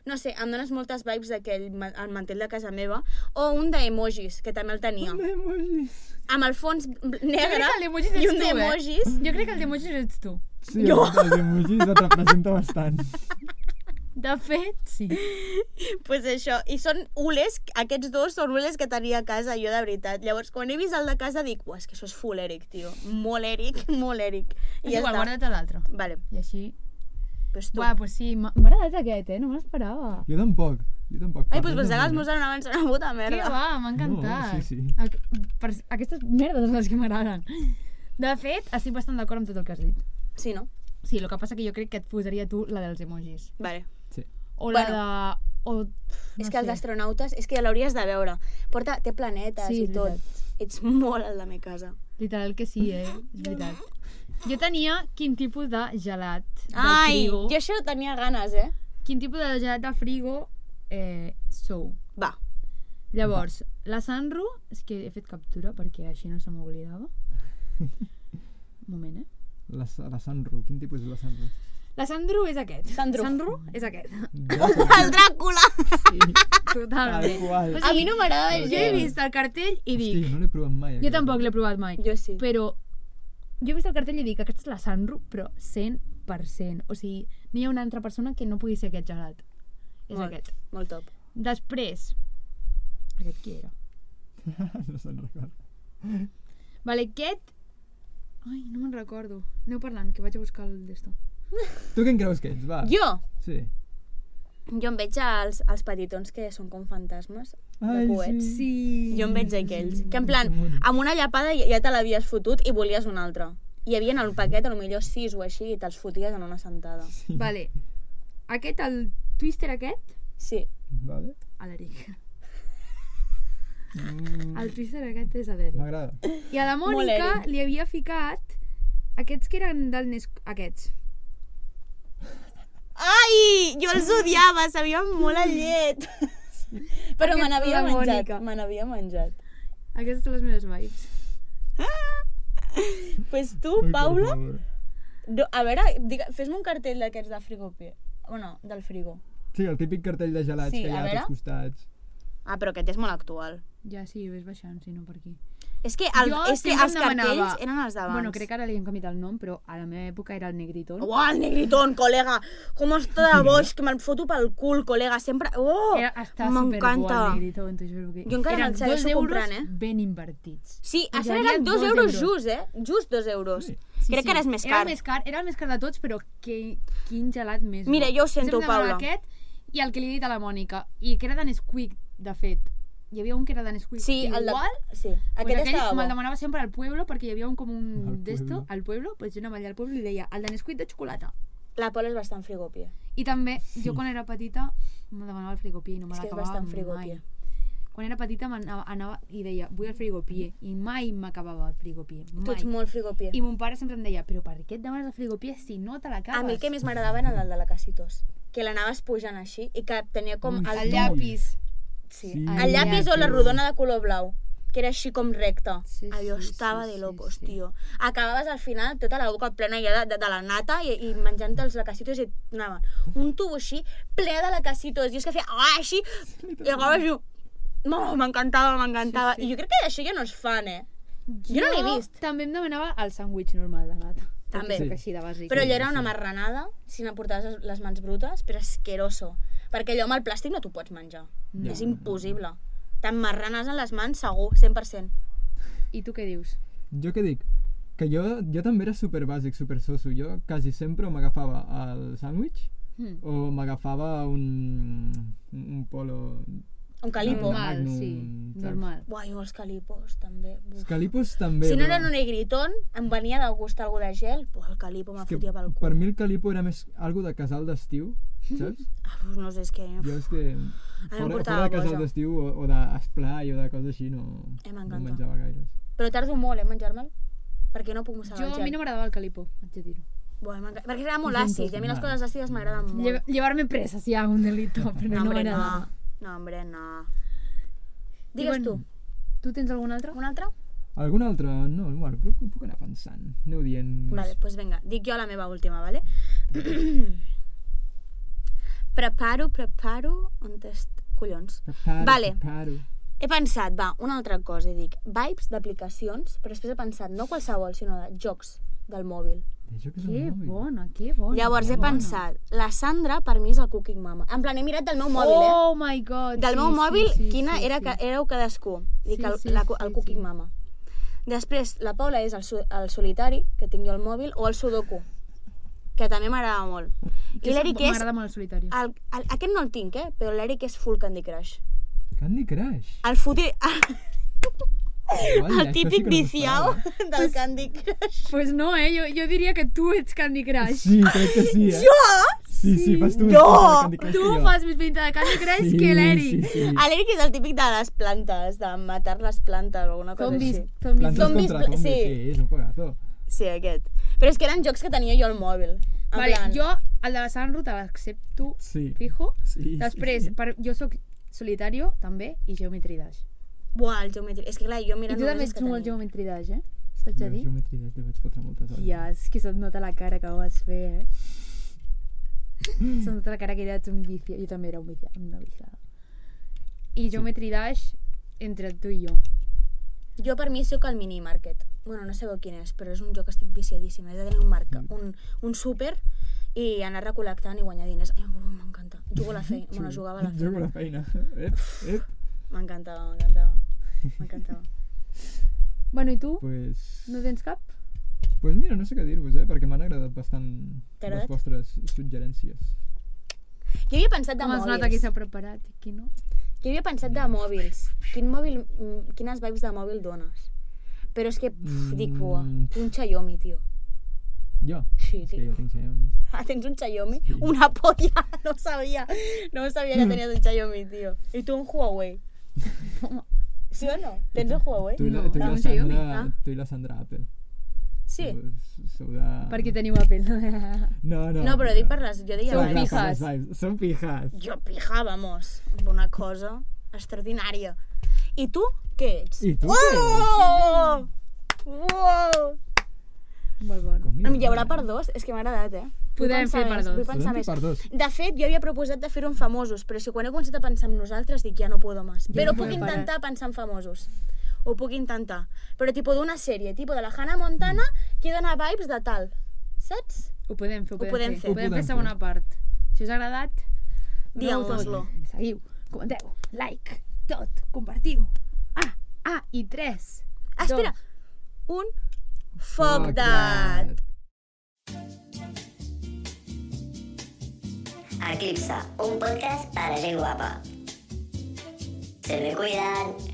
C: No sé, em dones moltes vibes d'aquell ma- el mantell de casa meva. O un d'emojis, que també el tenia.
B: Ai, emojis.
C: Amb el fons bl- negre
D: crec que l'emoji
C: i
D: ets
C: un
D: tu, eh?
C: d'emojis.
D: Jo crec que el d'emojis ets tu.
B: Sí, jo. els emojis et representa bastant.
D: De fet, sí.
C: pues això, i són ules, aquests dos són ules que tenia a casa jo de veritat. Llavors, quan he vist el de casa dic, uah, és que això és full Eric, tio. Molt Eric, molt Eric. I
D: És
C: ja
D: igual,
C: està.
D: guarda't l'altre.
C: Vale,
D: I així...
C: pues tu.
D: Buah, pues sí, m'ha m'ha agradat aquest, eh? No me l'esperava.
B: Jo tampoc. Jo tampoc.
C: Ai,
B: Per
C: doncs
B: mi
C: pensava que els
B: no.
C: meus eren abans una puta
D: Que
C: merda.
D: va, m'ha encantat.
B: No, sí, sí.
D: Aqu per aquestes merdes són les que m'agraden. De fet, estic bastant d'acord amb tot el que has dit.
C: Sí, no?
D: Sí, el que passa que jo crec que et posaria tu la dels emojis.
C: Vale.
B: Sí.
D: O la
C: Bueno.
D: de... O... pf, No
C: és que els
D: sé.
C: astronautes, és que ja l'hauries de veure. Porta, té planetes
D: Sí,
C: i
D: és
C: tot. Ets molt el de mi casa.
D: Literal que sí, eh? És veritat. Jo tenia quin tipus de gelat del
C: Ai,
D: frigo.
C: jo això tenia ganes, eh?
D: Quin tipus de gelat de frigo eh, sou.
C: Va,
D: Llavors, la Sanru... És que he fet captura perquè així no se m'oblidava. Un moment, eh?
B: La, Sa- la Sanru. Quin tipus és la Sanru?
D: La Sandru és aquest.
C: Sandru.
D: Sandru és aquest.
B: Ja,
C: el Dràcula!
B: Tal
D: Totalment.
B: qual.
D: O
C: A
D: sigui,
C: mi no m'agrada
D: Jo he
C: gens.
D: vist el cartell i dic...
B: Hosti, no l'he provat mai.
D: Jo
B: aquest.
D: tampoc l'he provat mai.
C: Jo sí.
D: Però jo he vist el cartell i dic aquesta és la Sanru, però 100%. O sigui, no hi ha una altra persona que no pugui ser aquest gelat. És
C: Molt.
D: aquest.
C: Molt top.
D: Després... Aquest qui era?
B: no se'n recorda.
D: Vale, aquest... Ai, no me'n recordo. Aneu parlant, que vaig a buscar el d'esto.
B: Tu què en creus que ets? Va.
C: Jo,
B: Sí.
C: jo em veig als, als petitons que són com fantasmes de
B: Ai,
C: coets.
B: sí.
C: Jo em veig aquells. Que en plan, amb una llapada ja- ja te l'havies fotut i volies una altra. Hi havia en el paquet, a lo millor sis o així, i te'ls foties en una sentada.
E: Vale. Aquest, el twister aquest,
C: Sí.
B: Vale.
E: a l'Eric.
B: Mm,
E: El twister aquest és a l'Eric.
B: M'agrada.
E: I a la
C: Molt
E: Mònica
C: Eric.
E: li havia ficat aquests que eren del Nes... Aquests.
C: Ai, jo els odiava, sabien molt a llet. Però me
E: Aquest
C: n'havia
E: la
C: menjat,
E: Mònica.
C: me n'havia menjat.
E: Aquestes són les meves vibes.
C: pues tu,
B: Ai, per
C: Paula...
B: favor.
C: Do, a veure, digue- fes-me un cartell d'aquests de frigopier. Bueno, del frigo.
B: Sí, el típic cartell de gelats
C: Sí,
B: que hi ha
C: a
B: a tots
C: veure.
B: costats.
C: Ah, però aquest és molt actual.
D: Ja, sí, ves baixant, si no per aquí.
C: És que, el,
D: Jo
C: és que
D: sempre
C: els
D: em
C: cartells
D: demanava-
C: eren els d'abans.
D: Bueno, crec que ara li hem canviat el nom, però a la meva època era el negritón.
C: Uau, el negritón, col·lega! Com està de boix, que me'l foto pel cul, col·lega, sempre... Oh,
D: Era, està superbo
C: m'encanta.
D: el negritón, t'ho juro. Que...
C: Jo encara me'l
D: Eren
C: segueixo
D: dos euros
C: comprant, eh?
D: ben invertits.
C: Sí,
D: Us
C: això
D: havia
C: eren dos,
D: dos
C: euros,
D: euros.
C: just, eh? Just dos euros.
D: Sí,
C: crec
D: sí.
C: que ara és més
D: Era
C: car.
D: el més car, era el més car de tots, però que, quin gelat més bo.
C: Mira, jo ho sento,
D: Sempre em demanava
C: Paula.
D: Aquest i el que li he dit a la Mònica, i que era de Nesquik, de fet. Hi havia un que era de Nesquik.
C: Sí,
D: igual,
C: el de... Sí,
D: Aquest
C: aquest
D: pues aquell me'l
C: estava bo.
D: demanava sempre al pueblo perquè hi havia un, com un
B: Al
D: d'esto,
B: pueblo.
D: al pueblo, pues jo anava allà al pueblo i deia el de Nesquik de xocolata.
C: La Paula és bastant frigòpia.
D: I també, jo quan era petita, me demanava el frigopier i no me
C: És que és
D: l'acabava
C: bastant
D: mai.
C: frigòpia.
D: Quan era petita anava, anava i deia, vull el frigopier, i mai m'acabava el frigopier,
C: Tu
D: mai.
C: ets molt frigòpia.
D: I mon pare sempre em deia, però per què et demanes el frigopier si no te l'acabes?
C: A mi el que més m'agradava era el de la Casitos que l'anaves pujant així i que tenia com
B: Ui,
C: el,
D: El
B: Sí.
D: llapis.
C: Sí.
B: Sí.
C: El llapis o la
D: Llapis.
C: rodona de color blau, que era així com recta.
D: Sí,
C: Allò
D: sí,
C: estava
D: sí,
C: de
D: sí,
C: locos,
D: sí.
C: tio. Acabaves al final tota la boca plena ja de, de, de la nata i, i menjant els lacacitos i et anaven un tubo així ple de lacacitos. I és que feia ah, així i acabaves i jo, "Oh, m'encantava, m'encantava.
D: Sí, sí.
C: I jo crec que això ja no es fan, eh? Jo no l'he vist.
D: També em demanava el sàndwich normal de nata.
C: També.
D: Sí.
B: Sí.
D: Així de bàsic.
C: Però allò era una marranada, si n'emportaves les- les mans brutes, però asqueroso. Perquè allò amb el plàstic no t'ho pots menjar.
D: No.
C: És impossible. Tant marranes en les mans, segur, 100%.
D: I tu què dius?
B: Jo què dic? Que jo, jo també era super bàsic, super soso. Jo quasi sempre o m'agafava el sàndwich
D: Hm.
B: o m'agafava un, un polo...
C: Un calipo.
B: Normal. Magnum,
D: Normal, sí.
B: saps?
D: Normal.
C: Buah, jo els calipos, també. Buf.
B: Els calipos també.
C: Si no
B: però-
C: era un negritón, em venia de gust algú de gel, buah, el calipo me'l
B: és que
C: fotia pel cul.
B: per mi el calipo era més algo de casal d'estiu, saps?
C: Ah, pues no sé, és que
B: Jo és que
C: em
B: fora,
C: portava
B: fora de casal
C: boja.
B: d'estiu o, o d'esplai o de coses així no,
C: Eh,
B: no
C: m'encanta.
B: menjava gaire.
C: Però tardo molt, eh, en menjar-me'l. Perquè no puc mossegar
D: Jo,
C: el
D: a mi no
C: gel.
D: m'agradava el calipo, haig de dir-ho.
C: Buah, eh, m'enca- perquè era molt àcid, i a mi les coses àcides m'agraden molt.
D: Lle Llevar-me presa, si hi ha un delito, però
C: No,
D: no,
C: hombre,
D: m'agradava.
C: no. No, hombre, no.
D: I
C: Digues
D: bueno,
C: tu,
D: Tu tens algun altre?
C: un altre?
B: Algun altre? No, bueno, però ho puc anar pensant. Aneu dient...
C: Vale, doncs pues vinga, dic jo la meva última, vale? preparo, preparo... On est... Collons.
B: Preparo,
C: Vale.
B: Preparo.
C: He pensat, va, una altra cosa, i dic, vibes d'aplicacions, però després he pensat, no qualsevol, sinó de jocs del mòbil.
B: Això que és
D: Que
B: el mòbil.
D: bona, que bona.
C: Llavors he
D: bona.
C: pensat, la Sandra per mi és el Cooking Mama. En plan, he mirat del meu mòbil, eh?
D: Oh my god.
C: Del
D: sí,
C: meu
D: sí,
C: mòbil,
D: sí,
C: quina
D: sí,
C: era,
D: sí.
C: que éreu cadascú. Dic,
D: Sí,
C: el,
D: sí,
C: la,
D: sí,
C: el
D: sí.
C: Cooking Mama. Després, la Paula és el, so- el solitari, que tinc jo al mòbil, o el Sudoku, que també m'agrada molt. I l'Eric és
D: M'agrada molt el solitari.
C: El, el, aquest no el tinc, eh? Però l'Eric és full Candy Crush.
B: Candy Crush.
C: El futi... El,
B: Guai,
C: el
B: això sí
C: típic
B: que no
C: viciado
B: m'estava.
C: del Candy Crush.
D: Pues no, eh? Jo, jo diria que tu ets Candy Crush.
B: Sí, crec que sí, eh? Jo? Sí, sí, fas tu més pinta
C: No!
B: de Candy Crush
D: Tu
B: que jo.
D: fas més pinta de Candy Crush
B: sí,
D: que l'Eric.
B: Sí, sí.
C: L'Eric és el típic de les plantes, de matar les plantes o alguna cosa
D: Zombis,
C: així.
D: zombis.
B: Plantes
C: Zombis,
B: contra
C: pla-
B: zombis,
C: sí.
B: sí. és un juegazo.
C: Sí, aquest. Però és que eren jocs que tenia jo al mòbil. En
D: Vale,
C: plan,
D: jo el de la Sandra te l'accepto
B: Sí.
D: fijo.
B: sí
D: Després,
B: Sí.
D: per, jo sóc solitario, també, i Geometry Dash.
C: Buah, el geometri... És que clar, jo
D: I
C: mira
D: tu també
C: només els
D: ets
C: que
D: molt
C: tenia.
D: Geometry Dash, eh? T'haig de
B: Jo,
D: dir?
B: geometria, li vaig fotre moltes hores.
D: Ja, és que se't nota la cara que ho vas fer, eh? se't nota la cara que eres un vici. Jo també era un vici, una viciada. I Geometry Dash entre tu i jo.
C: Jo per mi sóc el mini market. Bueno, no sabeu quin és, però és un joc que estic viciadíssima. Has de tenir un, marca,
B: Mm.
C: un, un súper i anar recol·lectant i guanyar diners. Ai, uh, M'encanta. Jugo a la feina. Bueno, jugava a la feina.
B: Jugo a la feina. Ep, ep.
C: M'encantava, m'encantava. M'encantava.
D: Bueno, i tu?
B: Pues...
D: No tens cap?
B: pues mira, no sé què dir-vos, eh? Perquè m'han agradat bastant
C: T'ha agradat?
B: les vostres suggerències.
C: Jo havia pensat de
D: Com es
C: mòbils.
D: nota qui s'ha preparat i qui no?
C: Jo havia pensat de mòbils. Quin mòbil, mm, quines vibes de mòbil dones? Però és que, pff, dic, buah,
B: Mm.
C: un Xiaomi, tio.
B: Jo?
C: Sí,
B: És que
C: tio.
B: jo tinc Xiaomi.
C: Ah, tens un Xiaomi? Una polla, no ho sabia. No ho sabia
B: Mm.
C: que tenies un Xiaomi, tio. I tu un Huawei. Sí o no? Tens un Huawei?
B: Tu i la,
D: No,
B: tu i
D: no,
B: la
D: un Xiaomi,
B: Sandra,
C: ah.
B: tu i la Sandra Apple.
C: Sí.
B: Sou- Sou de...
D: Perquè teniu Apple.
B: No, no.
C: No, però dic per les... Jo deia
B: Clar, clar,
D: Són
C: vibes.
B: per
D: pijas.
B: les vibes. Són pijas.
C: Jo pija, vamos. Una cosa extraordinària. I tu, què ets?
B: I tu què?
C: Wow! Wow! Em, Hi haurà per dos? És que m'ha agradat, eh? Vull
D: Podem
C: pensar
D: fer per
C: més,
D: dos.
C: Vull pensar
B: Podem fer
C: més.
B: per dos.
C: De fet, jo havia proposat de fer-ho en famosos, però si quan he començat a pensar en nosaltres dic ja no puedo más.
D: Jo
C: però
D: no
C: puc
D: puedo parar.
C: intentar pensar en famosos. Ho puc intentar. Però tipo d'una sèrie, tipo de la Hannah Montana,
D: Mm.
C: que dona vibes de tal. Saps?
D: Ho podem fer, ho podem,
C: podem fer.
D: fer. Ho podem
B: Ho podem
D: fer segona part. Si us ha agradat,
C: Digueu-nos-lo.
D: seguiu, comenteu, like, tot, compartiu. Ah, ah, i tres.
C: Ah, Espera,
D: Dos.
C: un foc de...
A: Eclipse, un podcast para gent guapa. Se me cuidan.